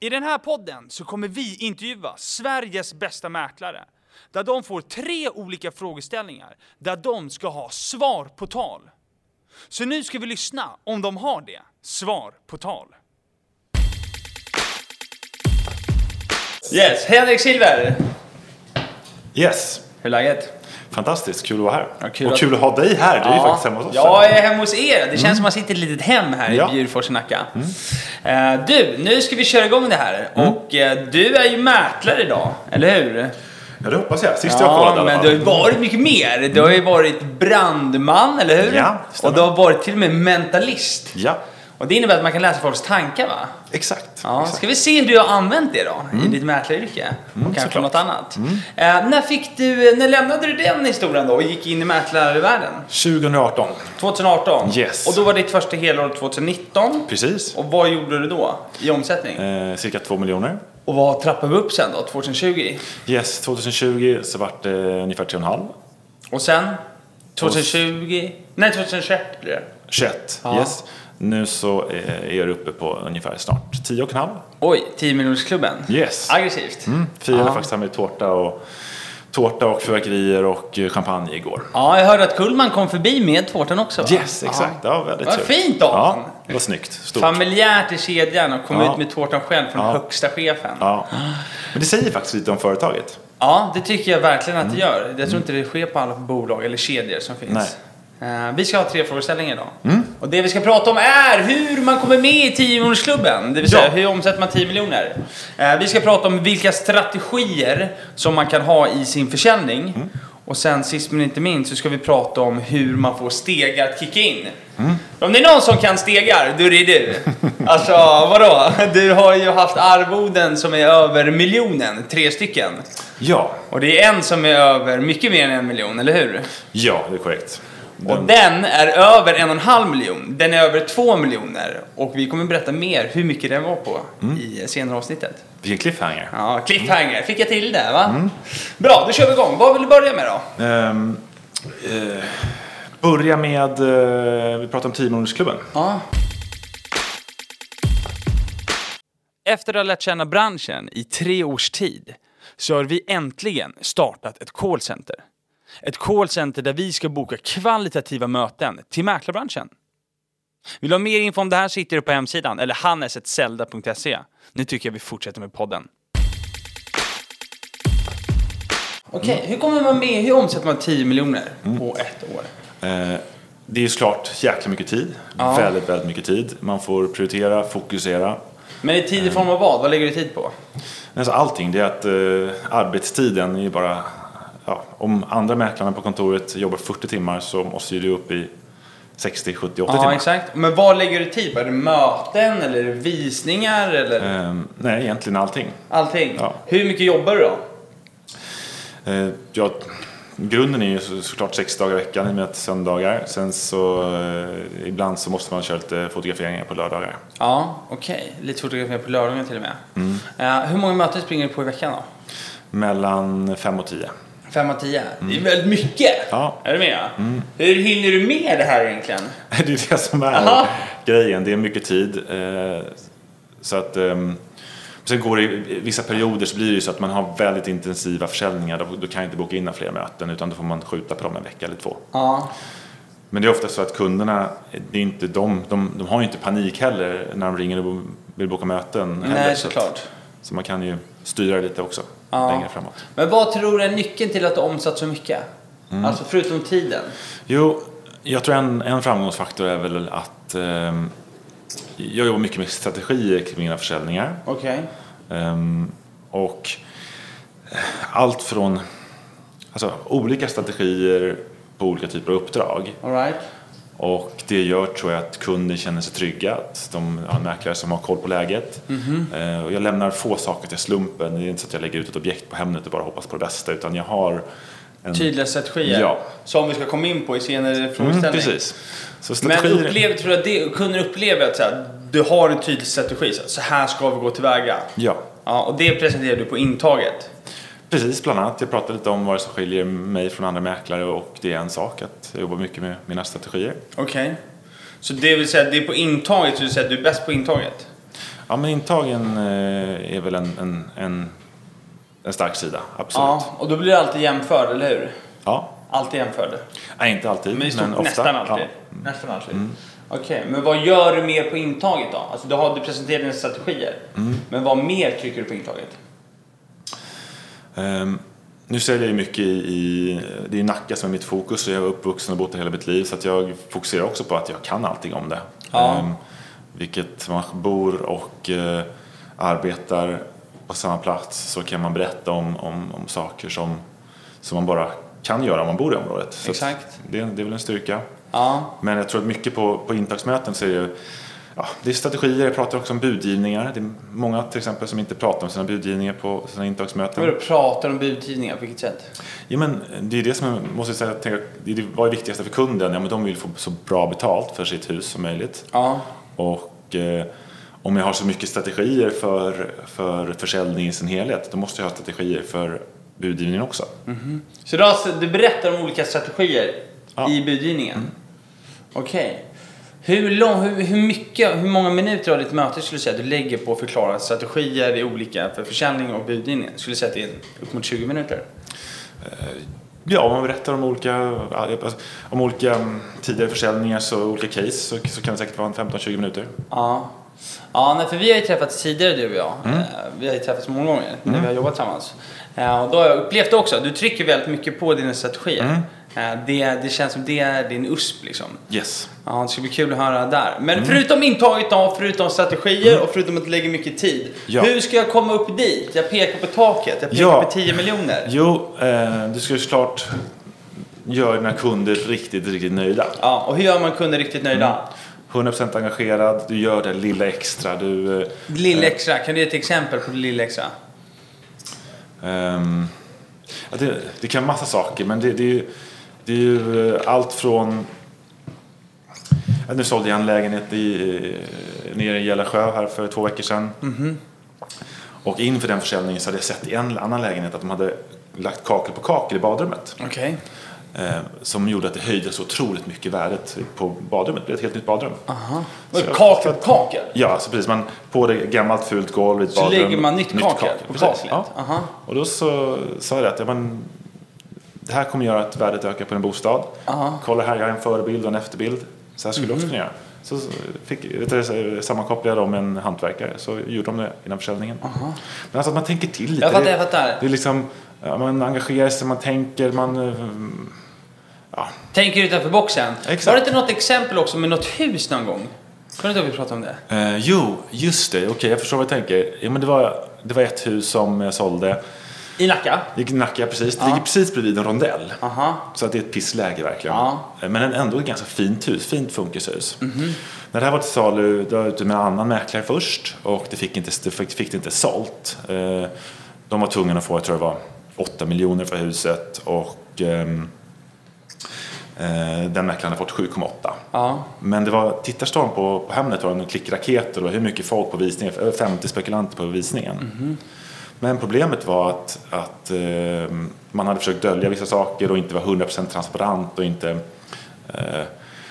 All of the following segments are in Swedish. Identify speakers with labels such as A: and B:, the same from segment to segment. A: I den här podden så kommer vi intervjua Sveriges bästa mäklare. Där de får tre olika frågeställningar där de ska ha svar på tal. Så nu ska vi lyssna om de har det. Svar på tal. Yes, Henrik Silver!
B: Yes,
A: Hur är läget?
B: fantastiskt. Kul att vara här.
A: kul
B: och
A: att-
B: kul att ha dig här. Du är ju faktiskt hemma hos oss. Mm.
A: Jag är hemma hos er. Det känns som att man sitter i ett litet hem här
B: Ja. Mm.
A: i Bjurfors och Nacka. Eh, Du, nu ska vi köra igång det här. Och eh, du är ju mäklare idag, eller hur?
B: Ja, det hoppas jag. Sist jag kollade i alla
A: men
B: fall. Mm.
A: du har ju varit mycket mer. Du har ju varit brandman, eller hur?
B: Ja, stämmer.
A: och du har varit till och med mentalist.
B: Ja,
A: Och det innebär att man kan läsa folks tankar, va?
B: exakt.
A: Ja,
B: exakt. Mm.
A: ska vi se hur du har använt det då, i ditt mäklaryrke? och kanske
B: såklart. Mm.
A: något annat. Eh, när, fick du, när lämnade du den historien då och gick in i mäklarvärlden?
B: 2018.
A: 2018?
B: Yes.
A: Och då var ditt första helår 2019.
B: Precis.
A: Och vad gjorde du då i omsättning?
B: Eh, cirka 2 miljoner.
A: Och vad trappade vi upp sen då, 2020?
B: Yes, 2020 så vart det ungefär 3,5.
A: Och sen? 2020? Nej, 2021 blir det.
B: 21.
A: Ja.
B: Yes. Nu så eh, är det uppe på ungefär snart 10,5.
A: Oj, 10 miljonersklubben.
B: Yes.
A: Aggressivt.
B: Mm, firade
A: Ja.
B: faktiskt här med tårta och, tårta och fyrverkerier och eh, champagne igår.
A: Ja, jag hörde att Kullman kom förbi med tårtan också va?
B: Yes, exakt. Ja, väldigt
A: Vad
B: trevligt.
A: fint av
B: Ja,
A: honom.
B: det var snyggt. Stort.
A: Ja. Familjärt i kedjan och kom
B: Ja.
A: ut med tårtan själv från
B: Ja.
A: högsta chefen. Ja.
B: Ja. Men det säger faktiskt lite om företaget.
A: det tycker jag verkligen att det
B: Mm.
A: gör. Jag tror inte det sker på alla bolag eller kedjor som finns.
B: Nej. Mm.
A: Eh, vi ska ha tre frågeställningar idag. Och det vi ska prata om är hur man kommer med i 10 miljonersklubben. Det vill
B: Ja.
A: säga hur omsätter man 10 miljoner? Eh, vi ska prata om vilka strategier som man kan ha i sin försäljning.
B: Mm.
A: Och sen sist men inte minst så ska vi prata om hur man får stegar att kicka in.
B: Mm.
A: Om det är någon som kan stegar, då är det du. Alltså vadå? Du har ju haft arvoden som är över miljonen, tre stycken.
B: Ja,
A: Och det är en som är över mycket mer än en miljon, eller hur?
B: ja det är korrekt.
A: Och
B: Den,
A: den är över en och en halv miljon. Den är över två miljoner. Och vi kommer berätta mer hur mycket den var på i senare avsnittet.
B: vilken cliffhanger.
A: Ja, cliffhanger. Fick jag till det va? Bra, då kör vi igång. Vad vill du börja med då?
B: Ehm, eh, börja med, eh, vi pratar om 10-miljonersklubben.
A: Ja. Efter att ha lärt känna branschen i tre års tid så har vi äntligen startat ett callcenter. Ett callcenter där vi ska boka kvalitativa möten till mäklarbranschen. Vill du ha mer info om det här sitter du på hemsidan eller hannesetzelda.se. Nu tycker jag vi fortsätter med podden. Okej, hur kommer man med? Hur omsätter man 10 miljoner på ett år?
B: Eh, det är ju såklart jäkla mycket tid.
A: Ja.
B: Väldigt, väldigt mycket tid. Man får prioritera, fokusera.
A: Men i tid i form av vad? Vad lägger du tid på?
B: Alltså allting, det är att eh, arbetstiden är ju bara... Ja, om andra mäklarna på kontoret jobbar 40 timmar så måste ju du upp i 60, 70, 80
A: Ja,
B: timmar.
A: exakt. Men vad lägger du tid på? Är det möten eller är det visningar eller
B: Ehm, nej, egentligen allting.
A: allting?
B: ja.
A: Hur mycket jobbar du då?
B: Eh, ja, grunden är ju så- såklart sex dagar i veckan i och med att söndagar. Sen så eh, ibland så måste man köra lite fotograferingar på lördagar.
A: Ja, okej. Lite fotografering på lördagen till och med.
B: Mm.
A: Eh, hur många möten springer du på i veckan då?
B: Mellan fem och tio.
A: Fem av tio? Det är väldigt mycket!
B: Mm. Ja.
A: Är du
B: Mm.
A: med? Hur hinner du med det här egentligen?
B: Det är det som är
A: Aha.
B: grejen. Det är mycket tid. eh, Så att, ehm, sen går det, i vissa perioder så blir det ju så att man har väldigt intensiva försäljningar. Då, då kan jag inte boka in några fler möten utan då får man skjuta på dem en vecka eller två.
A: Ja,
B: Men det är ofta så att kunderna, det är inte de, de, de har ju inte panik heller när de ringer och vill boka möten. heller,
A: nej
B: så att-
A: såklart.
B: Så man kan ju styra lite också
A: Ja.
B: längre framåt.
A: Men vad tror du är nyckeln till att du har omsatt så mycket?
B: Mm.
A: Alltså förutom tiden.
B: Jo, jag tror en, en framgångsfaktor är väl att ehm, jag jobbar mycket med strategier kring mina försäljningar.
A: Okej.
B: Ehm, och eh, allt från alltså, olika strategier på olika typer av uppdrag.
A: Alright.
B: Och det gör tror jag att kunden känner sig trygga, att de har en mäklare som har koll på läget.
A: Mhm.
B: Eh, och jag lämnar få saker till slumpen, det är inte så att jag lägger ut ett objekt på Hemnet och bara hoppas på det bästa utan jag har en...
A: Tydliga strategier.
B: Ja.
A: Som vi ska komma in på i senare
B: Mm,
A: frågeställning.
B: precis. Så
A: Men
B: strategier...
A: upplever, tror du att det, kunden upplever att så här, du har en tydlig strategi, så här, så här ska vi gå tillväga.
B: Ja,
A: Ja, och det presenterar du på intaget.
B: precis bland annat. Jag pratade lite om vad det som skiljer mig från andra mäklare och det är en sak att jag jobbar mycket med mina strategier.
A: Okej. Så det vill säga, det är på intaget, så du säger att du är bäst på intaget?
B: Ja, men intagen eh, är väl en, en, en, en stark sida, absolut. Ja.
A: Ja, och då blir du alltid jämförd, eller hur?
B: ja.
A: Alltid jämförd.
B: Nej, inte alltid,
A: Men, i
B: men,
A: stort,
B: ofta.
A: nästan alltid.
B: Ja. Mm.
A: Nästan alltid. Okej, men vad gör du mer på intaget då? Alltså du, har, du presenterar dina strategier.
B: Mm.
A: Men vad mer trycker du på intaget?
B: Ehm, nu säljer jag ju mycket i, i, det är Nacka som är mitt fokus och jag är uppvuxen och bott där hela mitt liv så att jag fokuserar också på att jag kan allting om det.
A: Ja.
B: Ehm, vilket man bor och eh, arbetar på samma plats så kan man berätta om, om, om saker som, som man bara kan göra om man bor i området. Så att
A: Exakt.
B: Det, är- det är väl en styrka.
A: Ja,
B: Men jag tror att mycket på, på intagsmöten så är det ju Ja, det är strategier, jag pratar också om budgivningar. Det är många till exempel som inte pratar om sina budgivningar på sina intagsmöten.
A: men du pratar om budtidningar på vilket sätt?
B: Ja, men eh, det är det som jag måste säga, tänka, det är det, vad är det viktigaste för kunden? Ja, men de vill få så bra betalt för sitt hus som möjligt.
A: Ja,
B: Och eh, om jag har så mycket strategier för, för försäljning i sin helhet, då måste jag ha strategier för budgivningen också.
A: Så du, har, alltså- du berättar om olika strategier
B: Ja.
A: i budgivningen? Okej. Hur, lång, hur, hur, mycket, hur många minuter av ditt möte skulle du säga att du lägger på att förklara strategier i olika för försäljning och budgivningen? Skulle du säga att det är upp mot 20 minuter?
B: Ja, om man berättar om olika, alltså, om olika mm, tidigare försäljningar, så olika case, så, så kan det säkert vara en 15-20 minuter.
A: Ja. Ja, nej, för vi har ju träffats tidigare du och jag. Eh, Vi har ju träffats många gånger när vi har jobbat tillsammans. Eh, Och då har jag upplevt det också. Du trycker väldigt mycket på dina strategier. Eh, Det, det känns som det är din USP liksom.
B: Yes.
A: Ja, det ska bli kul att höra där. Men
B: Mm.
A: förutom intaget då, förutom strategier och förutom att lägga mycket tid.
B: Ja.
A: Hur ska jag komma upp dit? Jag pekar på taket, jag pekar
B: Ja.
A: på 10 miljoner.
B: Jo, eh, du ska ju såklart göra dina kunder riktigt, riktigt nöjda.
A: Ja, och hur gör man kunder riktigt nöjda?
B: 100% engagerad, du gör det lilla extra. Du, eh,
A: Lilla extra, kan du ge ett exempel på lilla extra?
B: ehm, ja, det, det kan massa saker, men det, det, är, ju, det är ju eh, allt från... Ja, nu sålde jag en lägenhet i, eh, nere i Gällasjö här för två veckor sedan.
A: Mhm.
B: Och inför den försäljningen så hade jag sett i en annan lägenhet att de hade lagt kakel på kakel i badrummet.
A: Okej.
B: Eh, som gjorde att det höjde så otroligt mycket värdet på badrummet. Det blev ett helt nytt badrum.
A: Aha.
B: Så jag-
A: Kakel på kakel?
B: Ja, alltså precis. Man på det gammalt fult golv i ett
A: Så
B: badrum.
A: lägger man nytt kakel på
B: Precis,
A: kaklet?
B: ja.
A: Aha.
B: Och då så sa jag det att ja, men, det här kommer göra att värdet ökar på en bostad.
A: Aha. Mhm.
B: Kolla här, jag har en förebild och en efterbild. Så här skulle du också kunna göra. Så så fick, vet du, så sammankopplade jag dem med en hantverkare så gjorde de det innan försäljningen. Men alltså att man tänker till lite.
A: Jag fattar,
B: Det-
A: jag fattar.
B: Det är liksom, ja, man engagerar sig, man tänker, man... eh, Ja,
A: Tänker utanför boxen.
B: Exakt.
A: Var det inte något exempel också med något hus någon gång? Kunde inte vi prata om det?
B: Eh, jo, just det. Okej, jag förstår vad du tänker. Ja, men det, var, det var ett hus som jag sålde.
A: I Nacka?
B: Det gick Nacka precis. Det ligger precis bredvid en rondell.
A: Aha.
B: Så att det är ett pissläge verkligen.
A: Ja.
B: Eh, Men ändå ett ganska fint hus. Fint funkishus. När det här var till salu, då var jag ute med en annan mäklare först. Och det fick inte, det fick, fick det inte sålt. Eh, de var tvungna att få, jag tror det var 8 miljoner för huset. Och ehm, eh, den mäklaren har fått 7,8.
A: Ja.
B: Men det var tittarstorm på, på Hemnet var det en klickraketer och hur mycket folk på visningen, över 50 spekulanter på visningen.
A: Mhm.
B: Men problemet var att, att eh, man hade försökt dölja vissa saker och inte var 100% transparent och inte... Eh,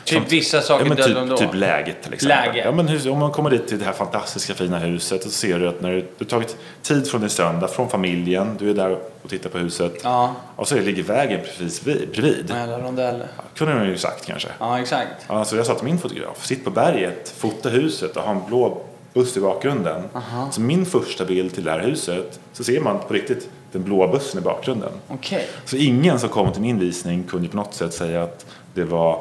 A: Typ vissa saker
B: ja, men
A: dödade de då.
B: typ, typ läget till exempel.
A: Läge.
B: Ja, men hur, om man kommer dit till det här fantastiska fina huset och så ser du att när du, du har tagit tid från din söndag, från familjen, du är där och tittar på huset
A: Ja.
B: och så ligger vägen precis vid, bredvid.
A: Eller rondell.
B: Kunde man ju sagt kanske.
A: Ja, exakt.
B: Ja, så jag sa till min fotograf, sitt på berget, fota huset och ha en blå buss i bakgrunden. Så min första bild till det här huset, så ser man på riktigt den blåa bussen i bakgrunden.
A: Okej.
B: Så ingen som kom till min visning kunde på något sätt säga att det var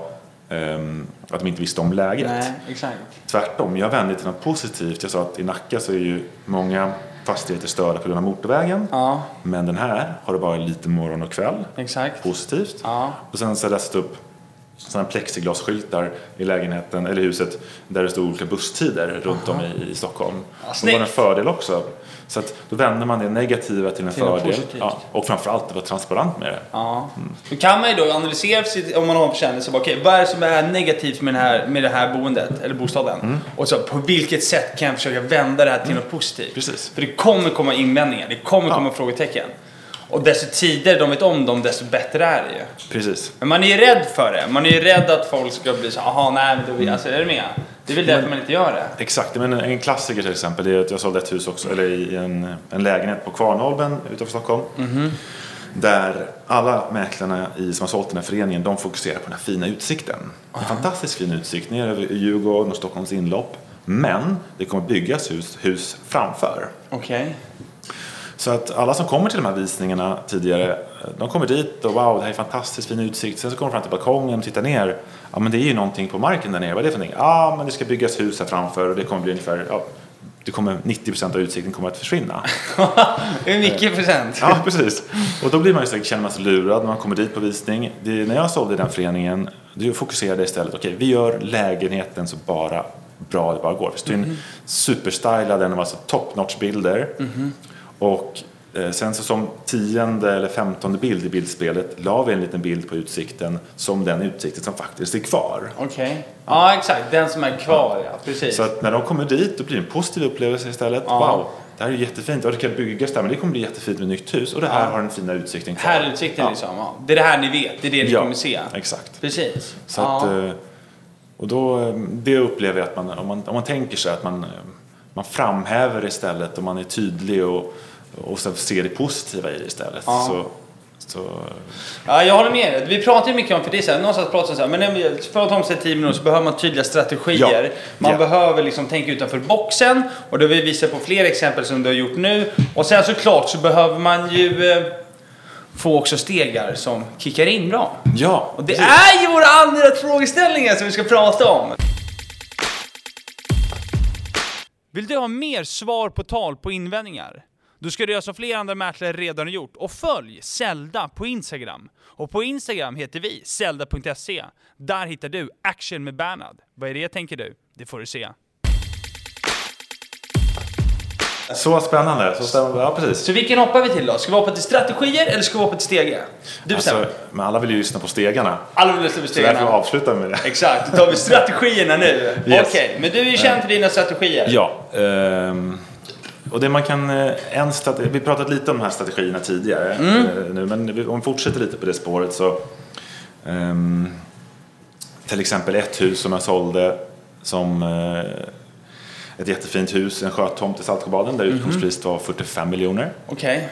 B: ehm, att de inte visste om läget.
A: Nej, exakt.
B: Tvärtom, jag vände till något positivt. Jag sa att i Nacka så är ju många fastigheter störda på grund av motorvägen.
A: Ja,
B: Men den här har det bara lite morgon och kväll
A: exakt.
B: positivt.
A: Ja.
B: Och sen så läste upp sådana plexiglasskyltar i lägenheten eller huset där det stod olika busstider runt om i, i Stockholm. och det var en
A: snyggt!
B: fördel också. Så att då vände man det negativa till en
A: Till något
B: fördel.
A: positivt.
B: Ja, och framförallt att vara transparent med det.
A: Ja. Då kan man ju då analysera sitt, om man har en försäljning, så bara, okej, vad är det som är negativt med, den här, med det här boendet, eller bostaden? Och så på vilket sätt kan jag försöka vända det här till något positivt?
B: Precis.
A: För det kommer komma invändningar, det kommer komma frågetecken. Och desto tidigare de vet om dem, desto bättre är det ju.
B: Precis.
A: Men man är ju rädd för det. Man är ju rädd att folk ska bli så aha nej, men då vill jag, alltså är du med? Det är väl därför man inte gör det.
B: Exakt, men en klassiker till exempel är att jag sålde ett hus också, eller i en, en lägenhet på Kvarnholmen utanför Stockholm. Där alla mäklarna i, som har sålt den här föreningen, de fokuserar på den här fina utsikten. En fantastiskt fin utsikt ner över Djurgården och Stockholms inlopp. Men det kommer byggas hus, hus framför.
A: Okej.
B: Så att alla som kommer till de här visningarna tidigare, de kommer dit och wow, det här är fantastiskt fin utsikt. Sen så kommer de fram till balkongen och tittar ner. Ja, men det är ju någonting på marken där nere. Vad är det för någonting? Ja, men det ska byggas hus här framför och det kommer bli ungefär, ja, det kommer 90 av utsikten kommer att försvinna.
A: Hur mycket procent?
B: Ja, precis. Och då blir man ju säkert, känner man sig lurad när man kommer dit på visning. Det, när jag sålde i den föreningen, då fokuserade jag istället, okej, vi gör lägenheten så bara bra det bara går. Vi stod
A: Mhm.
B: in superstylad, den var alltså top notch bilder.
A: Mhm.
B: Och eh, sen så som tionde eller femtonde bild i bildspelet la vi en liten bild på utsikten som den utsikten som faktiskt är kvar.
A: Okej. Ja, exakt. Den som är kvar, ja. Precis.
B: Så att när de kommer dit då blir det en positiv upplevelse istället.
A: Ja.
B: Wow, det här är ju jättefint. Ja, det kan byggas där men det kommer bli jättefint med nytt hus och det här har den fina utsikten kvar.
A: Här är utsikten
B: Ja.
A: liksom. Ja. Det är det här ni vet. Det är det ni
B: Ja,
A: kommer se.
B: Exakt.
A: Precis.
B: Så
A: ja.
B: att, eh, och då, eh, det upplever jag att man, om man, om man tänker sig att man, eh, man framhäver istället och man är tydlig och, och sen ser det positiva i det istället.
A: Ja.
B: Så, så,
A: Ja, jag håller med dig. Vi pratar ju mycket om, för det är så här, någonstans pratar man så här, men när vi- för att ta om sig 10 minuter så behöver man tydliga strategier.
B: Ja.
A: Man
B: Ja.
A: behöver liksom tänka utanför boxen och det har vi visat på fler exempel som du har gjort nu. Och sen såklart så behöver man ju eh, få också stegar som kickar in bra.
B: ja,
A: Och det är ju våra andra frågeställningar som vi ska prata om. Vill du ha mer svar på tal på invändningar? Då ska du göra som flera andra mäklare redan har gjort och följ Zelda på Instagram. Och på Instagram heter vi zelda.se. Där hittar du action med Bernhard. Vad är det tänker du? Det får du se.
B: så spännande. Så spännande. Ja, precis.
A: Så vilken hoppar vi till då? Ska vi hoppa till strategier eller ska vi hoppa till stege? Du
B: Alltså,
A: bestämmer.
B: men alla vill ju lyssna på stegarna.
A: Alla vill lyssna på
B: Så därför
A: stegarna.
B: avslutar vi med det.
A: Exakt, då tar vi strategierna nu. Okej,
B: Yes.
A: men du är ju känd för dina strategier.
B: Ja. ehm, och det man kan, eh, en strate- vi har pratat lite om de här strategierna tidigare. eh, Nu, men vi- om vi fortsätter lite på det spåret så. ehm, till exempel ett hus som jag sålde som eh, ett jättefint hus, en sjötomt i Saltsjöbaden där utgångspriset var 45 miljoner.
A: Okej.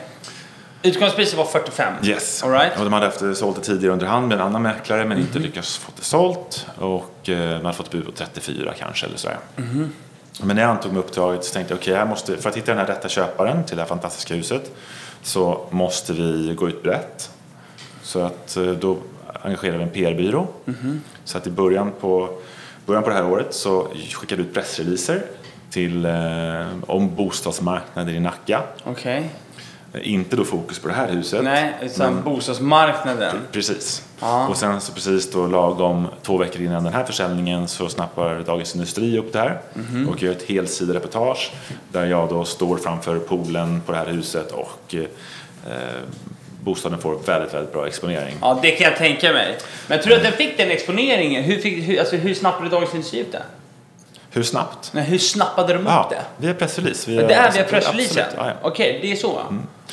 A: Utgångspriset var 45.
B: Yes.
A: All right. Mhm.
B: Och de hade haft sålt det tidigare under hand med en annan mäklare men inte lyckats få det sålt. Och eh, man hade fått bud på 34 kanske eller sådär.
A: Mhm.
B: Men när jag antog mig uppdraget så tänkte jag okej, här måste för att hitta den här rätta köparen till det här fantastiska huset så måste vi gå ut brett. Så att eh, då engagerade vi en PR-byrå.
A: Mhm.
B: Så att i början på, början på det här året så skickade vi ut pressreleaser till, eh, om bostadsmarknaden i Nacka.
A: Okej.
B: Eh, Inte då fokus på det Mm. här huset.
A: Nej, utan bostadsmarknaden.
B: Precis.
A: Ja.
B: Och sen så precis då lagom två veckor innan den här försäljningen så snappar Dagens Industri upp det här
A: Mhm.
B: och gör ett helsidereportage där jag då står framför poolen på det här huset och eh, bostaden får väldigt, väldigt bra exponering.
A: Ja, det kan jag tänka mig. Men tror du att den fick den exponeringen? Hur, fick, hur, alltså, hur snappade Dagens Industri ut det?
B: Hur snabbt?
A: Nej, hur snappade de
B: Ja,
A: upp det?
B: via pressrelease.
A: Men det är via
B: absolut,
A: pressreleasen?
B: absolut, Ja, ja.
A: Okej, det är så?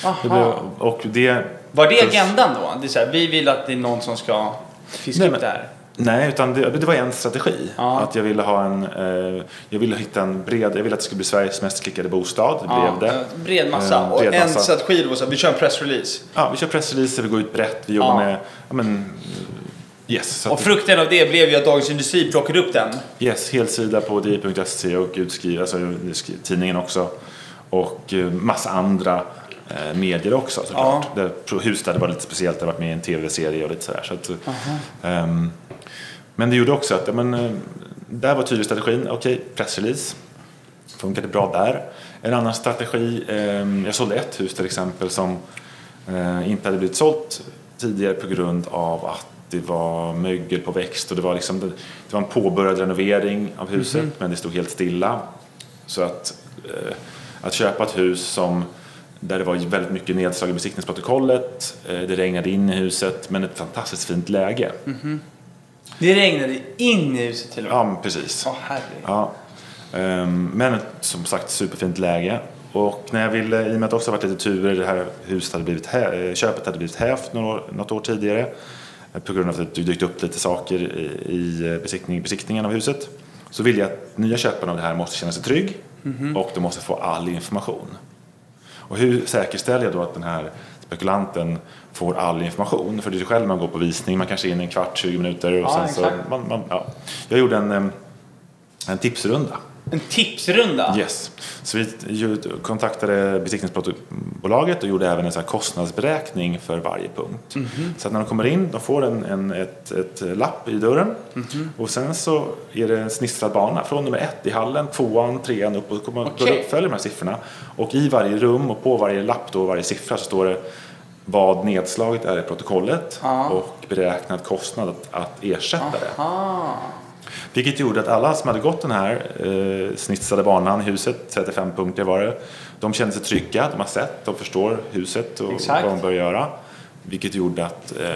B: Det
A: Aha.
B: blev, och det,
A: Var det
B: plus-
A: agendan då? Det är så här, vi vill att det är någon som ska fiska
B: Nej,
A: upp
B: men-
A: det här.
B: Nej, utan det, det var en strategi.
A: Ja.
B: Att jag ville ha en, eh, jag ville hitta en bred, jag ville att det skulle bli Sveriges mest klickade bostad. Det
A: Ja,
B: blev det.
A: en Bred massa.
B: Eh,
A: och
B: bred
A: en
B: massa.
A: strategi då, så här, vi kör en pressrelease.
B: Ja, vi kör pressreleaser, vi går ut brett, vi jobbar
A: Ja.
B: med... Ja, men, yes, så
A: Och
B: att,
A: frukten av det blev ju att Dagens Industri plockade upp den.
B: yes, helsida på di.se och utskriv, alltså, skri- tidningen också. Och eh, massa andra eh, medier också såklart.
A: Ja.
B: Det, pro- Husstead var lite speciellt, det har varit med i en tv-serie och lite sådär. Så att, eh, ehm, men det gjorde också att, ja, men, eh, där var tydlig strategin, okej, pressrelease. Funkade bra där. En annan strategi, ehm, jag sålde ett hus till exempel som eh, inte hade blivit sålt tidigare på grund av att det var mögel på växt och det var, liksom, det det var en påbörjad renovering av huset men det stod helt stilla. Så att, eh, att köpa ett hus som, där det var väldigt mycket nedslag i besiktningsprotokollet, eh, det regnade in i huset men ett fantastiskt fint läge.
A: Det regnade in i huset till och med.
B: Ja, men precis.
A: Åh herregud.
B: Ja. Ehm, Men ett, som sagt, superfint läge. Och när jag ville, i och med att det också varit lite tur i det här huset hade blivit hä- eh, köpet hade blivit hävt några år- något år tidigare eh, på grund av att det dykt upp lite saker i, i besiktning, eh, besiktningen av huset så vill jag att nya köparen av det här måste känna sig trygg
A: Mhm.
B: och de måste få all information. Och hur säkerställer jag då att den här spekulanten får all information? För det är ju själv man går på visning, man kanske är inne en kvart, 20 minuter och
A: Ja,
B: sen så...
A: exakt.
B: Man, man, ja. Jag gjorde en, em, en tipsrunda.
A: En tipsrunda?
B: Yes. Så vi ju- kontaktade besiktningsbolaget och gjorde även en så här kostnadsberäkning för varje punkt.
A: Mhm.
B: Så att när de kommer in, de får en, en ett, ett lapp i dörren
A: Mhm.
B: och sen så är det en snistrad bana från nummer ett i hallen, tvåan, trean upp och kommer
A: Okej.
B: följer de här siffrorna. Och i varje rum och på varje lapp då, varje siffra så står det vad nedslaget är i protokollet
A: Ja.
B: och beräknad kostnad att, att ersätta det.
A: Ah.
B: Vilket gjorde att alla som hade gått den här eh, snitsade banan i huset, 35 punkter var det, de kände sig trygga, de har sett, de förstår huset och
A: Exakt.
B: vad de bör göra. Vilket gjorde att eh,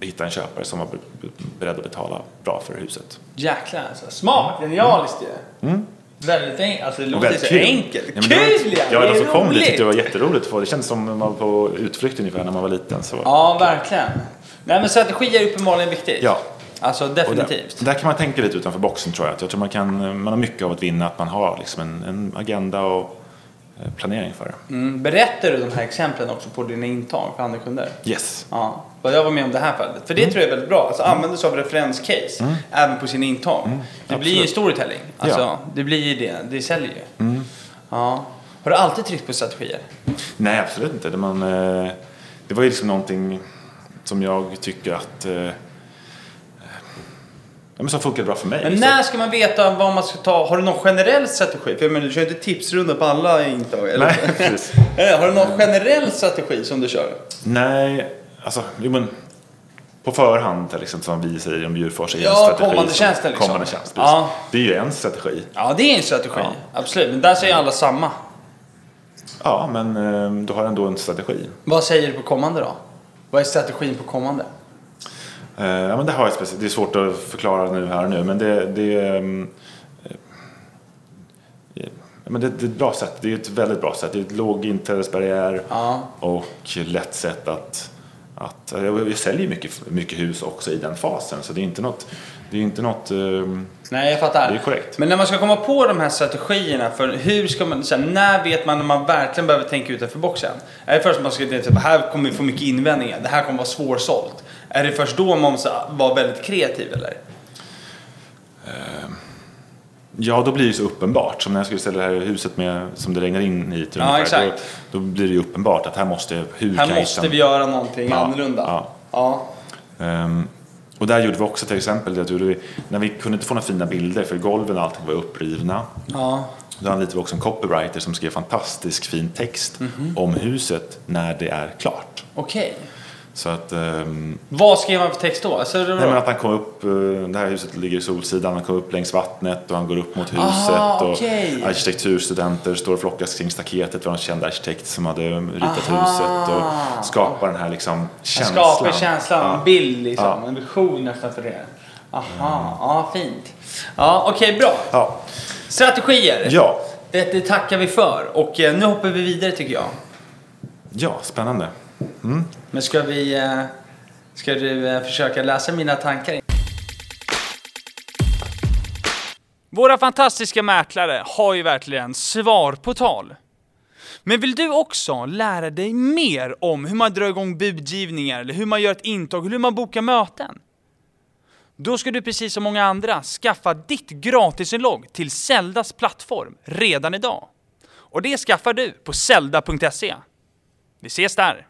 B: vi hittade en köpare som var be- beredd att betala bra för huset.
A: Jäklar alltså. Smart,
B: Mm.
A: genialiskt ju. Väldigt enkelt. Alltså det låter så enkelt.
B: Ja, men det var-
A: Kul ja!
B: Ja,
A: Det
B: de
A: är
B: som kom dit tyckte det var
A: roligt.
B: jätteroligt. att få. Det kändes som man var på utflykt ungefär när man var liten. Så.
A: Ja, verkligen. Nej men strategi är uppenbarligen viktigt.
B: Ja.
A: Alltså
B: Och där-
A: definitivt.
B: Där kan man tänka lite utanför boxen tror jag. Att Jag tror man, kan, man har mycket av att vinna, att man har liksom en, en agenda och eh, planering för det.
A: Mm. Berättar du de här exemplen också på dina intag för andra kunder?
B: Yes.
A: Ja, vad jag var med om det här fallet. För det
B: Mm.
A: tror jag är väldigt bra. Alltså använda sig av referenscase även på sina intag. det blir ju
B: Mm. absolut.
A: storytelling. Alltså,
B: Ja. Mm.
A: Det blir ju det. Det säljer ju. Ja. Har du alltid tryckt på strategier?
B: Nej, absolut inte. Det, man, eh, det var ju liksom någonting som jag tycker att... eh, eh, ja, men som funkar bra för mig.
A: Men
B: Så-
A: när ska man veta vad man ska ta? Har du någon generell strategi? För jag menar, du kör ju inte tipsrunda på alla intag. Eller?
B: Nej, precis.
A: Eh, Har du någon generell strategi som du kör?
B: Nej, alltså... Jo, men, på förhand, liksom, som vi säger om Djurfors, är en
A: Ja,
B: strategi.
A: kommande
B: som-
A: tjänsten, liksom.
B: Kommande tjänst, precis.
A: Ja.
B: Det är ju en strategi.
A: Ja, det är en strategi.
B: Ja.
A: Absolut. Men där säger alla samma.
B: Ja, men eh, du har ändå en strategi.
A: Vad säger du på kommande då? Vad är strategin på kommande?
B: Eh, Ja, men det, har jag speciellt. det är svårt att förklara nu här och nu, men det, det, ehm, eh, ja, men det, det är ett bra sätt. Det är ett väldigt bra sätt. Det är ett låg inträdesbarriär
A: Ja.
B: och lätt sätt att... att eh, jag, jag säljer mycket, mycket hus också i den fasen, så det är inte något... Det är inte något ehm,
A: Nej, jag fattar.
B: Det är korrekt.
A: Men när man ska komma på de här strategierna för hur ska man, så här, när vet man när man verkligen behöver tänka utanför boxen? Är det först man ska tänka att här kommer vi få mycket invändningar, det här kommer vara svårsålt? Är det först då man måste vara väldigt kreativ eller?
B: Ja, då blir det ju så uppenbart. Som när jag skulle ställa det här huset med, som det regnar in hit.
A: Ja,
B: ungefär,
A: exakt.
B: Då, då blir det ju uppenbart att här måste... Hur kan
A: Här
B: jag
A: måste
B: hitta-
A: vi göra någonting
B: Ja,
A: annorlunda.
B: ja.
A: Ja.
B: Ehm, och där gjorde vi också till exempel det att vi, när vi kunde inte få några fina bilder för golven och allting var upprivna.
A: ja.
B: Då anlitade vi också en copywriter som skrev fantastisk fin text
A: Mhm.
B: om huset när det är klart.
A: Okej.
B: Så att, ehm,
A: Vad skrev man för text då? Alltså, det var-
B: nej men att han kom upp, eh, det här huset ligger i Solsidan, han kom upp längs vattnet och han går upp mot huset.
A: Aha,
B: och
A: Ah, okej.
B: Arkitekturstudenter står och flockas kring staketet, det var en känd arkitekt som hade ritat
A: Aha.
B: huset och skapar den här liksom
A: Man
B: känslan.
A: skapar känslan, en
B: Ja.
A: bild liksom,
B: Ja.
A: en vision nästan för det. Aha, ja fint. Ja, okej bra.
B: Ja.
A: Strategier.
B: Ja.
A: Det, det tackar vi för och eh, nu hoppar vi vidare tycker jag.
B: ja, spännande.
A: Men ska vi... eh, Ska du eh, försöka läsa mina tankar? Våra fantastiska mäklare har ju verkligen svar på tal. Men vill du också lära dig mer om hur man drar igång budgivningar, eller hur man gör ett intag, hur man bokar möten? Då ska du precis som många andra skaffa ditt gratisinlogg till Zeldas plattform redan idag. Och det skaffar du på zelda.se. Vi ses där!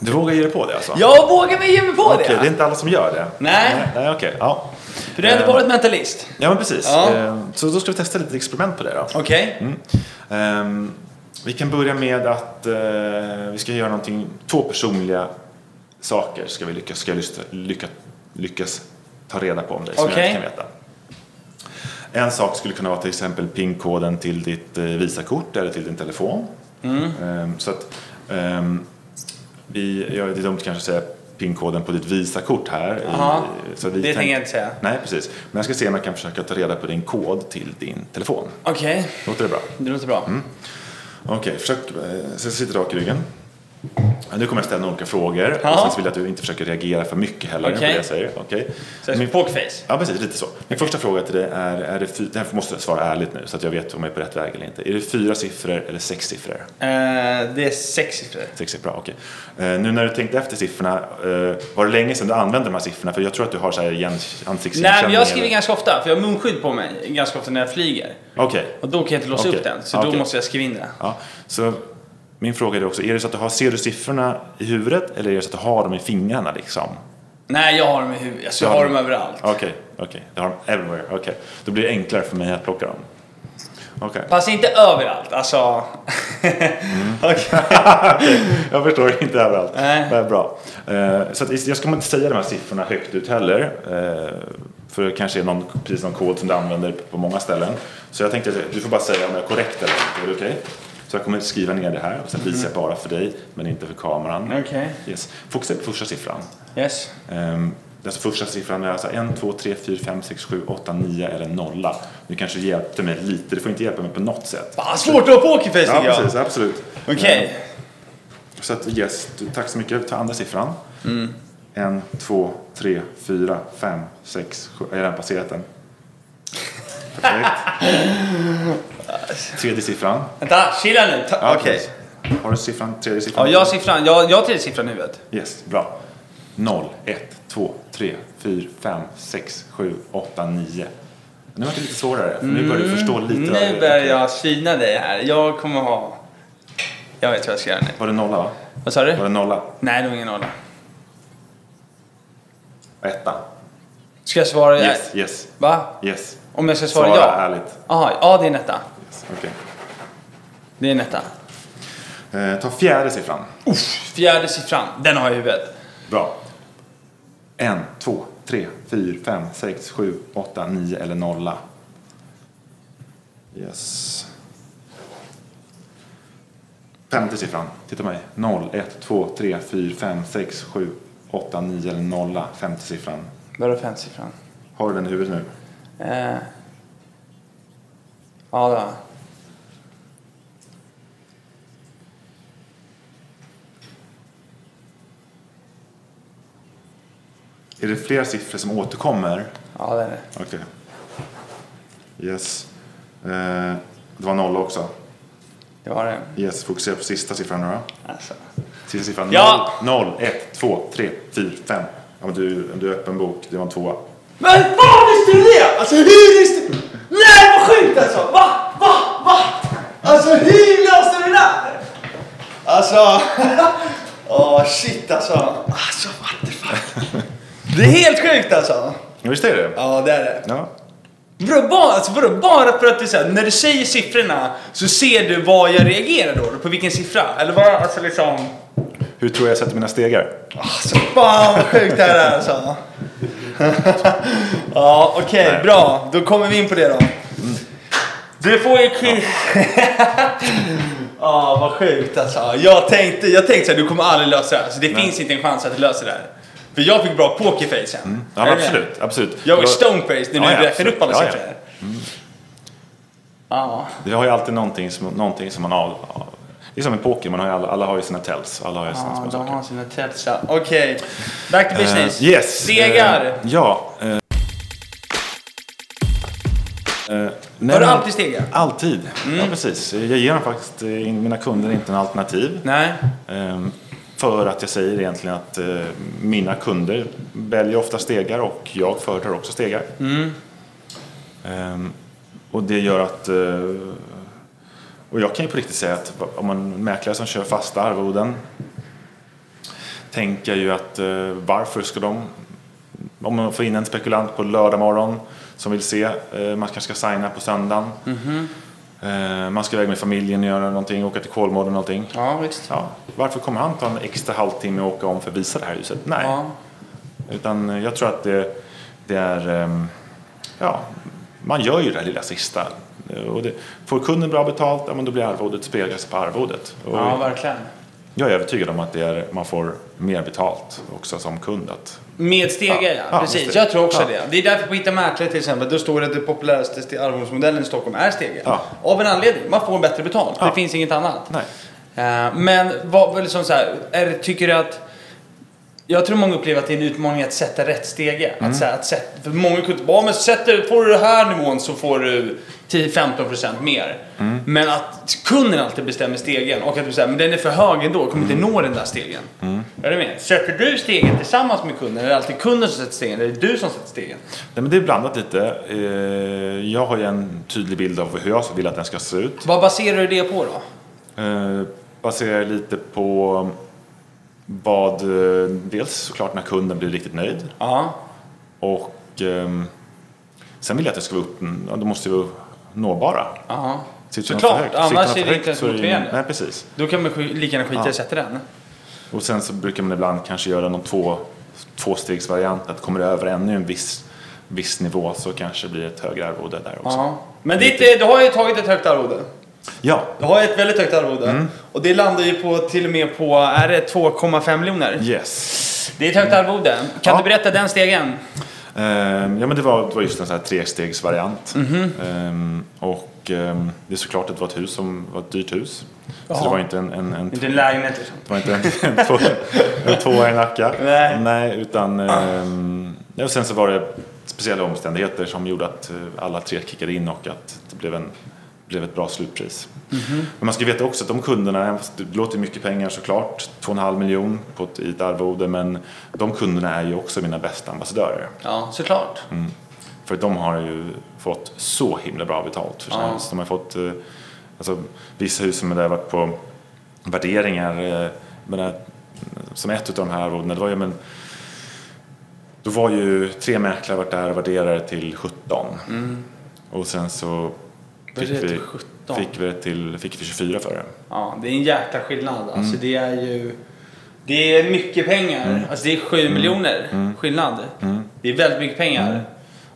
B: Du vågar ge dig på det alltså?
A: Jag vågar mig ge mig på
B: Okej,
A: det!
B: det är inte alla som gör det.
A: Nej.
B: Nej, okej. Ja.
A: För du har ändå
B: Eh,
A: varit mentalist.
B: Ja, men precis.
A: Ja.
B: Eh, Så då ska vi testa lite experiment på det då.
A: Okej.
B: Mm. Ehm, Vi kan börja med att eh, vi ska göra någonting, två personliga saker ska vi lyckas, ska jag lysta- lycka, lyckas ta reda på om dig som
A: Okej.
B: jag inte kan veta. En sak skulle kunna vara till exempel PIN-koden till ditt eh, Visakort eller till din telefon.
A: Mm.
B: Ehm, Så att, ehm, vi, ja, det är dumt kanske att säga PIN-koden på ditt Visakort här. i-
A: Jaha.
B: så
A: Det
B: tänk-
A: tänker jag inte säga.
B: Nej, precis. Men jag ska se om jag kan försöka ta reda på din kod till din telefon.
A: Okej,
B: Låter det bra?
A: det låter bra.
B: Okej, försök eh, sätta sitt rak i ryggen. Ja, Nu kommer jag ställa några olika frågor
A: Ja.
B: och sen så vill jag att du inte försöker reagera för mycket heller på
A: Okej.
B: det jag säger. Okej.
A: Så jag
B: Min-
A: pokerface.
B: Ja, precis. Lite så. Min första fråga till dig är, är det, fy- det här måste jag svara ärligt nu så att jag vet om jag är på rätt väg eller inte. Är det fyra siffror eller sex siffror?
A: Eh, det är sex siffror.
B: Sex siffror, bra, okej. Eh, nu när du tänkte efter siffrorna, eh, var det länge sedan du använde de här siffrorna? För jag tror att du har så här igen, ansiktsigenkänning.
A: Nej, men jag skriver
B: eller-
A: ganska ofta, för jag har munskydd på mig ganska ofta när jag flyger.
B: Okej.
A: Och då kan jag inte låsa
B: Okej.
A: upp den, så då
B: Okej.
A: måste jag skriva in det.
B: Ja, så min fråga är då också, är det så att du har, ser du siffrorna i huvudet eller är det så att du har dem i fingrarna liksom?
A: Nej, jag har dem i huvudet. Alltså, jag
B: Du har
A: har
B: dem.
A: dem överallt.
B: Okej, okej. Du har dem everywhere, okej. Då blir det enklare för mig att plocka dem. Okej.
A: Fast inte överallt, alltså.
B: Mm.
A: Okej.
B: Jag förstår inte överallt.
A: Nej.
B: Det är bra. Eh, Så att jag ska inte säga de här siffrorna högt ut heller. eh, För det kanske är någon, precis någon kod som du använder på många ställen. Så jag tänkte att du får bara säga om jag är korrekt eller inte. Är det okej? Så jag kommer skriva ner det här och sen visar jag bara för dig men inte för kameran.
A: Okej.
B: Yes. Fokusera på första siffran.
A: Yes.
B: Ehm, Alltså första siffran är alltså 1, 2, 3, 4, 5, 6, 7, 8, 9 eller 0. Du kanske hjälpte mig lite, du får inte hjälpa mig på något sätt.
A: Fan, svårt att ha pokerface
B: Ja,
A: tycker jag.
B: precis, absolut.
A: Okej.
B: Ehm, så att yes, du- tack så mycket. Ta andra siffran.
A: Mm.
B: En, två, tre, fyra, fem, sex, sju. Jag har redan passerat den. Perfekt. Tredje siffran.
A: Vänta, chilla nu. Ta-
B: Ja,
A: Okej.
B: precis. Har du siffran? Tredje siffran?
A: Ja, jag har siffran. Jag, jag har tredje siffran i huvudet.
B: Yes, bra. 0, 1, 2, 3, 4, 5, 6, 7, 8, 9. Nu var det lite svårare. för Nu börjar du förstå lite. vad det-
A: Mm. Nu börjar jag syna dig här. Jag kommer ha... Jag vet vad jag ska göra nu.
B: Var det nolla va?
A: Vad sa
B: Var
A: du?
B: det nolla?
A: Nej, det var ingen nolla.
B: Etta?
A: Ska jag svara...
B: Yes, yes,
A: Va?
B: yes.
A: Om jag ska svara
B: Svara
A: ja?
B: ärligt.
A: Aha, ja, det är en etta.
B: Yes. okej.
A: Det är en etta.
B: Eh, ta fjärde siffran.
A: Uff, fjärde siffran. Den har jag i huvudet.
B: Bra. En, två, tre, fyra, fem, sex, sju, åtta, nio eller nolla. Yes. Femte siffran. Titta på mig. Noll, ett, två, tre, fyra, fem, sex, sju, åtta, nio eller nolla. Femte siffran.
A: Vadå femte siffran?
B: Har du den i huvudet nu?
A: Eh. Ja, det har jag.
B: Är det fler siffror som återkommer?
A: Ja, det är det.
B: Okej. Yes. Eh, det var nolla också.
A: Det var det.
B: Yes, fokusera på sista siffran nu då.
A: Alltså.
B: Sista siffran.
A: Ja.
B: 0, 1, 2, 3, 4, 5. Ja, men du, du är öppen bok, det var en tvåa.
A: Men fan visste du det? Alltså hur visste du? Nej vad sjukt alltså! Va? Va? Va? Alltså hur löste du det där? Alltså... Åh shit alltså. Alltså what the fuck. Det är helt sjukt alltså.
B: Ja, visst är det?
A: Ja det är det.
B: Ja.
A: Bro, bara, alltså, vadå, bara för att du säger när du säger siffrorna så ser du vad jag reagerar då? På vilken siffra? Eller vad? Alltså liksom...
B: Hur tror jag jag sätter mina stegar?
A: Alltså fan vad sjukt det här är alltså. ja okej, bra. Då kommer vi in på det då. Du får ju kiss. Ja vad sjukt alltså. Jag tänkte, jag tänkte att du kommer aldrig lösa det här. Så det finns inte en chans att du löser det här. För jag fick bra pokerface sen.
B: Mm. Ja,
A: Är
B: men
A: du med?
B: absolut. absolut.
A: Jag var
B: Du har-
A: stonefaced när du
B: Ja, ja,
A: räknade upp alla
B: absolut. Ja, Mm.
A: siffror. här. Ja.
B: Vi har ju alltid någonting som, någonting som man av... av- Det är som i poker, man har ju alla, alla har ju sina tells. Alla har ju sina
A: Ja,
B: små
A: de
B: saker.
A: har sina tetsar. Okej, back to business.
B: Eh, yes.
A: Stegar.
B: Eh, ja. eh. Eh, nej,
A: Har
B: men-
A: du alltid Mm. stegar?
B: Alltid. Ja, precis. Jag ger dem faktiskt eh, mina kunder inte en alternativ.
A: Nej.
B: Ehm, För att jag säger egentligen att eh, mina kunder väljer ofta stegar och jag föredrar också stegar. Ehm, Och det gör att... eh, Och jag kan ju på riktigt säga att om man mäklare som kör fasta arvoden tänker jag ju att eh, varför ska de... Om man får in en spekulant på lördag morgon som vill se, eh, man kanske ska signa på söndagen. Eh, Man ska iväg med familjen och göra någonting, åka till Kolmården och någonting.
A: Ja, visst.
B: Ja, varför kommer han ta en extra halvtimme och åka om för att visa det här huset? Nej,
A: Ja.
B: utan eh, jag tror att det, det är... ehm, Ja, man gör ju det här lilla sista. Eh, Och det, får kunden bra betalt, ja, men då blir arvodet speglas på arvodet. Och
A: ja, verkligen.
B: jag är övertygad om att det är, man får mer betalt också som kund. Att,
A: Med stegar ja,
B: Ja, ja,
A: precis.
B: just det.
A: Jag tror också
B: Ja.
A: det. Det är därför på Hitta Mäklare till exempel, då står det att den populäraste ste- arvodesmodellen i Stockholm är stegar.
B: Ja.
A: Av en anledning, man får bättre betalt.
B: Ja.
A: Det finns inget annat.
B: nej.
A: Eh, Eh, Men vad, vad liksom så här, är, det- tycker du att... Jag tror många upplever att det är en utmaning att sätta rätt stege. Att, så här, att sätta, för många kunde bara, men sätter, får du den här nivån så får du 10-15% mer. Men att kunden alltid bestämmer stegen och att du säger, men den är för hög ändå, kommer inte nå den där stegen. Är du med? Sätter du stegen tillsammans med kunden? Är det alltid kunden som sätter stegen? Eller är det du som sätter stegen?
B: Nej, men det är blandat lite. Eh, Jag har ju en tydlig bild av hur jag vill att den ska se ut.
A: Vad baserar du det på då?
B: Eh, baserar jag lite på vad, eh, dels såklart när kunden blir riktigt nöjd
A: Ja.
B: och ehm, sen vill jag att det ska vara upp, ja, då måste vi vara nåbara.
A: ja.
B: Sitter den
A: Såklart,
B: för högt-
A: annars
B: sitter den för
A: är det
B: högt
A: inte ens
B: så är ju-
A: motiverande.
B: Nej, precis.
A: Då kan man sk- lika gärna skita i
B: Ja.
A: att sätta den.
B: Och sen så brukar man ibland kanske göra någon två, tvåstegsvariant, att kommer det över ännu en viss, viss nivå så kanske det blir ett högre arvode där också.
A: Ja. Men ditt, eh, du har ju tagit ett högt arvode.
B: Ja,
A: Du har ett väldigt högt arvode.
B: Mm.
A: Och det landar ju på, till och med på, är det 2,5 miljoner?
B: yes.
A: Det är ett högt arvode. Kan
B: Mm. Ja.
A: du berätta den stegen?
B: Ehm, ja men det var, det var just en sån här trestegsvariant. Ehm, och ehm, det är såklart att det var ett hus som var ett dyrt hus. Så
A: Jaha.
B: det var inte en, en, en,
A: Inte en lägenhet liksom.
B: det var inte en, en, två, en tvåa i Nacka.
A: Nej.
B: utan... ehm, ja, och sen så var det speciella omständigheter som gjorde att eh, alla tre kickade in och att det blev, en, blev ett bra slutpris. Men man ska veta också att de kunderna, även fast det låter mycket pengar såklart, 2,5 miljon på ett, i ett arvode, men de kunderna är ju också mina bästa ambassadörer.
A: Ja, såklart.
B: Mm. För de har ju fått så himla bra betalt för sina
A: Ja.
B: hus. De har fått, eh, alltså, vissa hus som där har varit på värderingar, eh, jag menar, som ett utav de här arvodena, det var ju men då var ju tre mäklare varit där och värderade till 17. Och sen så fick
A: Mm. Värderade
B: vi,
A: till 17.
B: fick, vi det till, fick vi 24 för det.
A: Ja, det är en jäkla skillnad.
B: Mm.
A: Alltså det är ju... Det är mycket pengar.
B: Mm.
A: Alltså det är 7 miljoner skillnad. Det är väldigt mycket pengar.
B: Mm.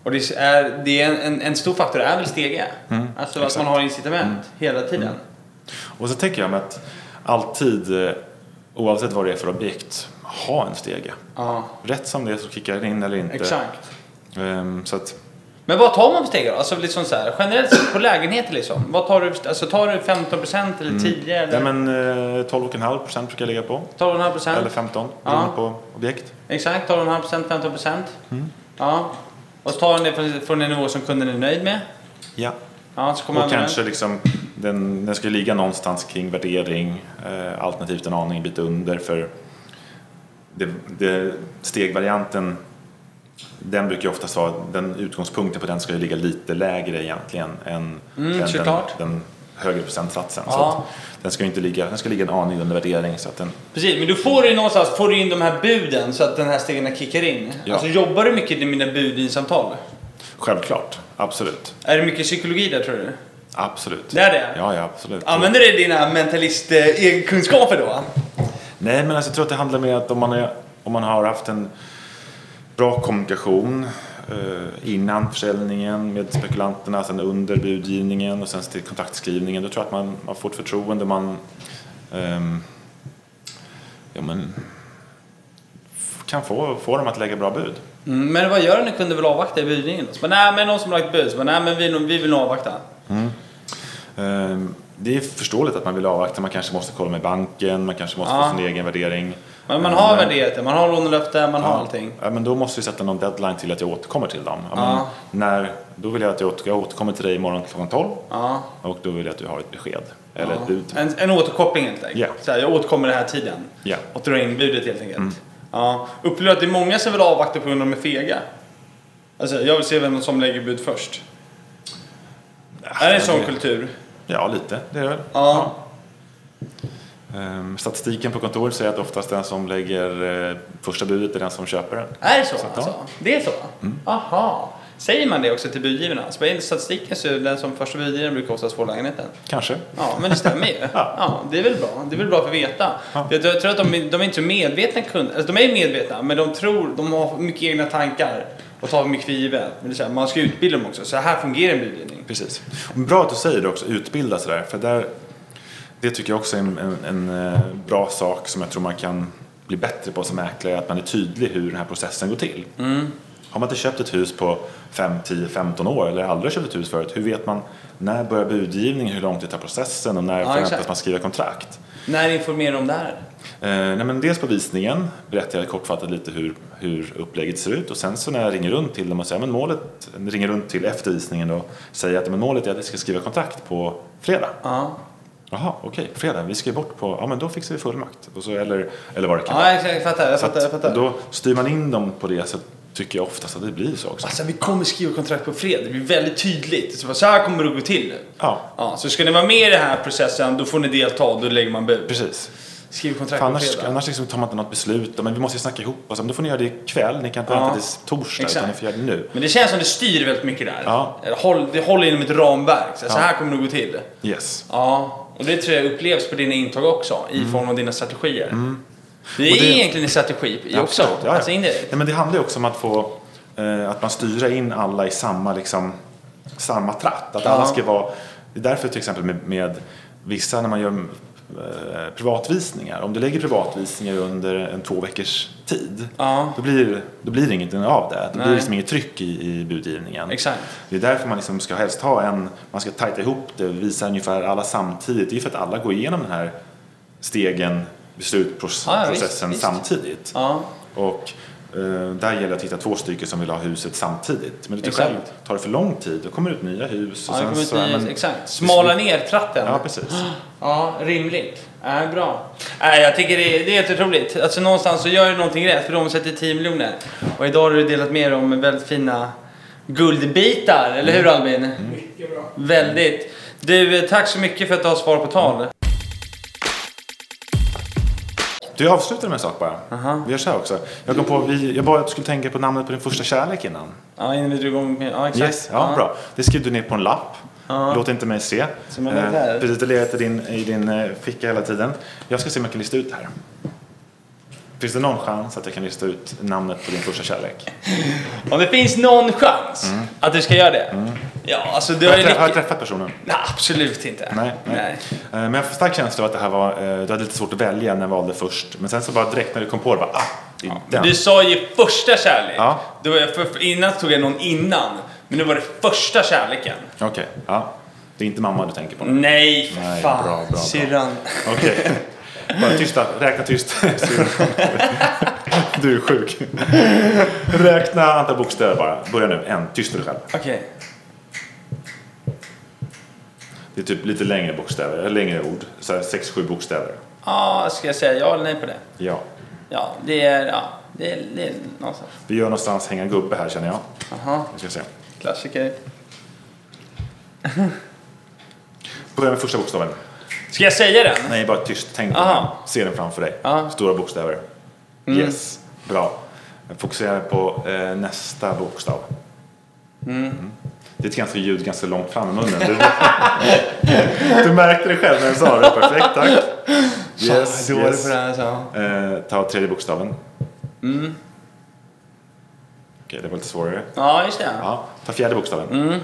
A: Och det är, det är en, en, en stor faktor är väl stege.
B: Mm.
A: Alltså att man har incitament hela tiden.
B: Och så tänker jag mig att alltid, eh, oavsett vad det är för objekt, ha en stege.
A: Ja,
B: Rätt som det är så kickar den in eller inte.
A: exakt.
B: Ehm, så att
A: Men vad tar man för steg då? Alltså liksom så här, generellt sett på lägenheter liksom. Vad tar du? Alltså tar du 15% eller 10 eller
B: Nej Mm. men eh, 12,5 procent brukar jag ligga på.
A: 12,5%?
B: Eller 15
A: Ja.
B: beroende på objekt.
A: Exakt, 12,5%, 15%.
B: Mm.
A: Ja. Och så tar man det från, från en nivå som kunden är nöjd med.
B: Ja.
A: Ja, så kommer
B: Och
A: man överens.
B: kanske liksom den, den ska ligga någonstans kring värdering eh, alternativt en aning bit under för det, det, stegvarianten den brukar ju oftast vara, den utgångspunkten på den ska ju ligga lite lägre egentligen än
A: Mm,
B: än den,
A: såklart.
B: den högre procentsatsen. Så
A: Ja.
B: att den ska ju inte ligga, den ska ligga en aning under värdering så att den
A: Precis, men du får du ju någonstans får du in de här buden så att den här stegen kickar in.
B: Ja.
A: Alltså jobbar du mycket med mina bud i samtal?
B: självklart, absolut,
A: Är det mycket psykologi där tror du?
B: absolut.
A: Det är det?
B: Ja, ja absolut.
A: Använder du dina mentalist-kunskaper då?
B: Nej, men alltså, jag tror att det handlar mer att om man, är, om man har haft en bra kommunikation eh, innan försäljningen med spekulanterna, sen under budgivningen och sen till kontaktskrivningen. Då tror jag att man, man får ett förtroende. Man, ehm, ja, men, f- kan få, få dem att lägga bra bud.
A: Mm, men vad gör du när kunden vill avvakta i budgivningen? Så bara, nej men någon som har lagt bud. Så bara, nej men vi, vi vill nog avvakta.
B: Ehm, det är förståeligt att man vill avvakta. Man kanske måste kolla med banken, man kanske måste
A: Ja.
B: få sin egen värdering.
A: Men man har
B: Ehm,
A: värdigheter, man har lånelöfte, man har
B: Ja.
A: allting.
B: Ja, men då måste vi sätta någon deadline till att jag återkommer till dem. Ja, men
A: Ja.
B: När, då vill jag att jag, åter, jag återkommer till dig imorgon klockan 12
A: Ja,
B: och då vill jag att du har ett besked. Eller
A: ja.
B: ett bud.
A: En, en återkoppling helt enkelt.
B: Ja.
A: Så här, jag återkommer den här tiden.
B: Ja. Mm.
A: Och drar in budet helt enkelt. Ja. Upplever du att det är många som vill avvakta på grund av att de är fega? Alltså, jag vill se vem som lägger bud först. är det en sån
B: det-
A: kultur?
B: Ja, lite. Det är det.
A: Ja.
B: Ehm, Statistiken på kontoret säger att oftast den som lägger eh, första budet är den som köper den.
A: Är det så?
B: att, ja. Mm.
A: alltså? Det är så? Aha. Säger man det också till budgivarna? Så bara, enligt statistiken så är den som första budgivaren brukar oftast få lägenheten.
B: Kanske.
A: Ja, men det stämmer ju.
B: Ja.
A: Ja, det är väl bra. Det är väl bra för att veta.
B: Ja.
A: Jag tror- jag tror att de, de är inte så medvetna kunder. Alltså, de är ju medvetna, men de tror, de har mycket egna tankar och tar mycket för givet. Men det är så här, man ska utbilda dem också. Så här fungerar en budgivning.
B: Precis. Och Bra att du säger det också, utbilda sig där. För där, det tycker jag också är en, en, en eh, bra sak som jag tror man kan bli bättre på som mäklare, att man är tydlig hur den här processen går till. Har man inte köpt ett hus på 5, 10, 15 år eller aldrig köpt ett hus förut, hur vet man när börjar budgivningen, hur lång tid tar processen och när förväntas
A: exakt.
B: man skriva kontrakt?
A: När informerar de där?
B: Eh, nej, men dels på visningen berättar jag kortfattat lite hur, hur upplägget ser ut och sen så när jag ringer runt till dem och säger men målet, ringer runt till efter visningen och säger att men målet är att vi ska skriva kontrakt på fredag.
A: Ja,
B: Jaha, okej, på fredag, vi ska ju bort på, ja men då fixar vi fullmakt. Och så, eller, eller vad det kan
A: ja exakt, jag fattar. Jag
B: Så
A: fattar, jag
B: att,
A: fattar.
B: då styr man in dem på det så tycker jag oftast att det blir så också.
A: Alltså vi kommer skriva kontrakt på fredag, det blir väldigt tydligt. Så, bara, så här kommer det att gå till nu.
B: Ja,
A: Ja, så ska ni vara med i den här processen, då får ni delta och då lägger man bud.
B: precis.
A: Skriv kontrakt
B: För
A: på
B: annars
A: fredag.
B: annars liksom tar man inte något beslut. Men vi måste ju snacka ihop oss. Men Då får ni göra det ikväll. Ni kan inte
A: Ja.
B: vänta tills torsdag.
A: Exakt.
B: Utan ni får göra det nu.
A: Men det känns som det styr väldigt mycket där.
B: Ja.
A: Eller Håll, det håller inom ett ramverk. Så, här, så här kommer det att gå till.
B: Yes.
A: Ja, och det tror jag upplevs på dina intag också i form av dina strategier. Det är
B: Mm. Och det-
A: egentligen en strategi i också,
B: Absolut, ja, ja.
A: alltså indirekt.
B: Nej, men det handlar ju också om att få eh, att man styrar in alla i samma, liksom, samma tratt. Att alla
A: Ja.
B: ska vara, det är därför till exempel med, med vissa när man gör eh, privatvisningar. Om du lägger privatvisningar under en två veckors tid
A: Ja.
B: då, blir, då blir det inget av det. Det
A: Nej.
B: blir liksom inget tryck i, i budgivningen.
A: Exakt.
B: Det är därför man liksom ska helst ha en, man ska tajta ihop det, visa ungefär alla samtidigt. Det är ju för att alla går igenom den här stegen, beslutsprocessen
A: Ja, ja, visst, visst.
B: samtidigt.
A: Ja,
B: Och eh, där gäller det att hitta två stycken som vill ha huset samtidigt. Men du
A: Exakt.
B: själv tar det för lång tid, då kommer det ut nya hus.
A: ja det kommer
B: så
A: inte,
B: är man-
A: exakt. Smala ner tratten.
B: Ja, precis.
A: Ja, rimligt. Äh, bra. Äh, jag tycker det är, det är helt otroligt. Alltså, någonstans så gör du någonting rätt för de omsätter 10 miljoner. Och idag har du delat med dig om väldigt fina guldbitar, eller hur Albin? Mm. Mycket bra. Väldigt. Du, eh, tack så mycket för att du har svar på tal.
B: Du, jag avslutar med en sak bara. Vi gör så här också. Jag, kom på, vi, jag bad att du skulle tänka på namnet på din första kärlek innan.
A: Ja, innan vi drog igång med... Ja, exakt.
B: Yes, ja, bra. Det skrev du ner på en lapp.
A: Ja.
B: Låt inte mig se. Eh,
A: Som jag lagt här.
B: precis, det legat i din, i din eh, ficka hela tiden. Jag ska se om jag kan lista ut det här. Finns det någon chans att jag kan lista ut namnet på din första kärlek?
A: Om det finns någon chans att du ska göra det. Ja, alltså du har
B: Mm. Har
A: ju
B: jag, trä- har jag
A: riktigt...
B: träffat personen?
A: Nej, absolut inte.
B: Nej, nej. Eh, Men jag har en stark känsla av att det här var, eh, du hade lite svårt att välja när jag valde först. Men sen så bara direkt när du kom på det, bara ah, det är den.
A: Du sa ju första kärlek.
B: Ja.
A: Då var jag för, för- innan tog jag någon innan. Men nu var det första kärleken.
B: Okej, ja. Det är inte mamma du tänker på? nu.
A: Nej, för
B: Nej,
A: fan.
B: bra, bra, bra.
A: Syrran.
B: Okej. Bara tysta, räkna tyst. du är sjuk. Räkna antal bokstäver bara. Börja nu, en. Tyst för dig själv.
A: Okej.
B: Det är typ lite längre bokstäver, eller längre ord. Så här, sex, sju bokstäver.
A: Ja, ska jag säga ja eller nej på det?
B: Ja.
A: Ja, det är... Ja, det är, det är någonstans.
B: Vi gör någonstans hänga gubbe här känner jag.
A: Aha,
B: Vi ska se.
A: klassiker.
B: Börja med första bokstaven.
A: Ska jag säga den?
B: Nej, bara tyst. Tänk på
A: Aha. Mm.
B: den. Se den framför dig.
A: Ja.
B: Stora bokstäver. Yes. Bra. Fokusera på eh, nästa bokstav. Mm. Ditt ganska ljud ganska långt fram i munnen. Du, du märkte det själv när du sa det. Perfekt, tack. Yes,
A: Fan, jag är dålig
B: yes.
A: på det här Mm. alltså.
B: Eh, ta tredje bokstaven. Okej, det var lite svårare.
A: Ja, just det.
B: Ja, ta fjärde bokstaven.
A: Mm.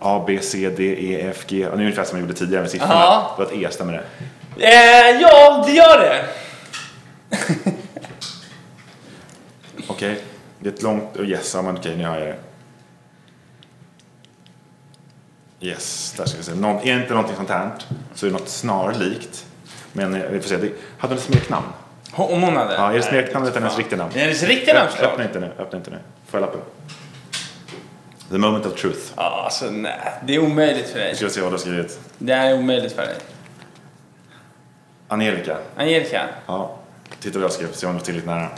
B: A, B, C, D, E, F, G. Och nu är det ungefär som jag gjorde tidigare med siffrorna.
A: Ja.
B: Det var ett E, stämmer det?
A: Eh, ja, det gör det.
B: Okej, det är ett långt... Oh yes, ja, men okej, nu har jag det. Yes, där ska vi se. Någon, är det inte någonting sånt här så är det något snarlikt. Men eh, vi får se. Det, hade hon ett smeknamn?
A: Om hon hade?
B: Ja, är det
A: Nej,
B: smeknamnet eller hennes
A: fan.
B: riktiga namn?
A: Det är hennes riktiga namn såklart.
B: Öppna inte nu, öppna inte nu. Får jag lappen? The moment of truth.
A: Ja, alltså nej. Det är omöjligt för dig.
B: Nu ska vi se vad du har skrivit.
A: Det här är omöjligt för dig.
B: Angelica.
A: Angelica.
B: Ja, titta vad jag skrev. Se om det var tillräckligt nära.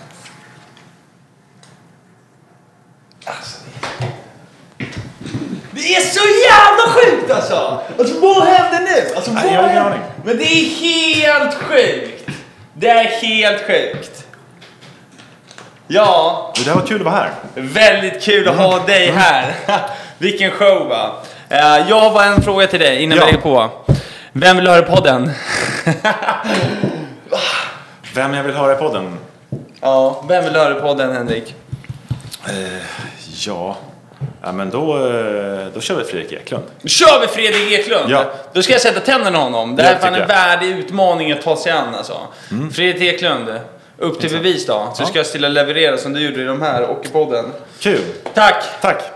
A: Alltså, Det är så jävla sjukt alltså! Alltså vad händer nu? Alltså,
B: Nej, jag har ingen
A: händer?
B: aning.
A: Men det är helt sjukt! Det är helt sjukt. Ja,
B: Det där var kul att vara här.
A: väldigt kul att ha dig här. Vilken show va? Eh, Jag har bara en fråga till dig innan
B: Ja.
A: vi lägger på. Vem vill höra podden?
B: Vem jag vill höra i podden?
A: Ja, vem vill höra podden Henrik?
B: Ja, ja men då, eh, då kör vi Fredrik Eklund.
A: Nu kör vi Fredrik Eklund!
B: Ja.
A: Då ska jag sätta tänderna i honom. Det här
B: Ja,
A: är fan
B: tycker Mm.
A: en värdig utmaning att ta sig an alltså. Fredrik Eklund, upp till bevis då. Så
B: Ja.
A: ska jag stilla leverera som du gjorde i de här och i podden.
B: Kul!
A: Tack!
B: Tack!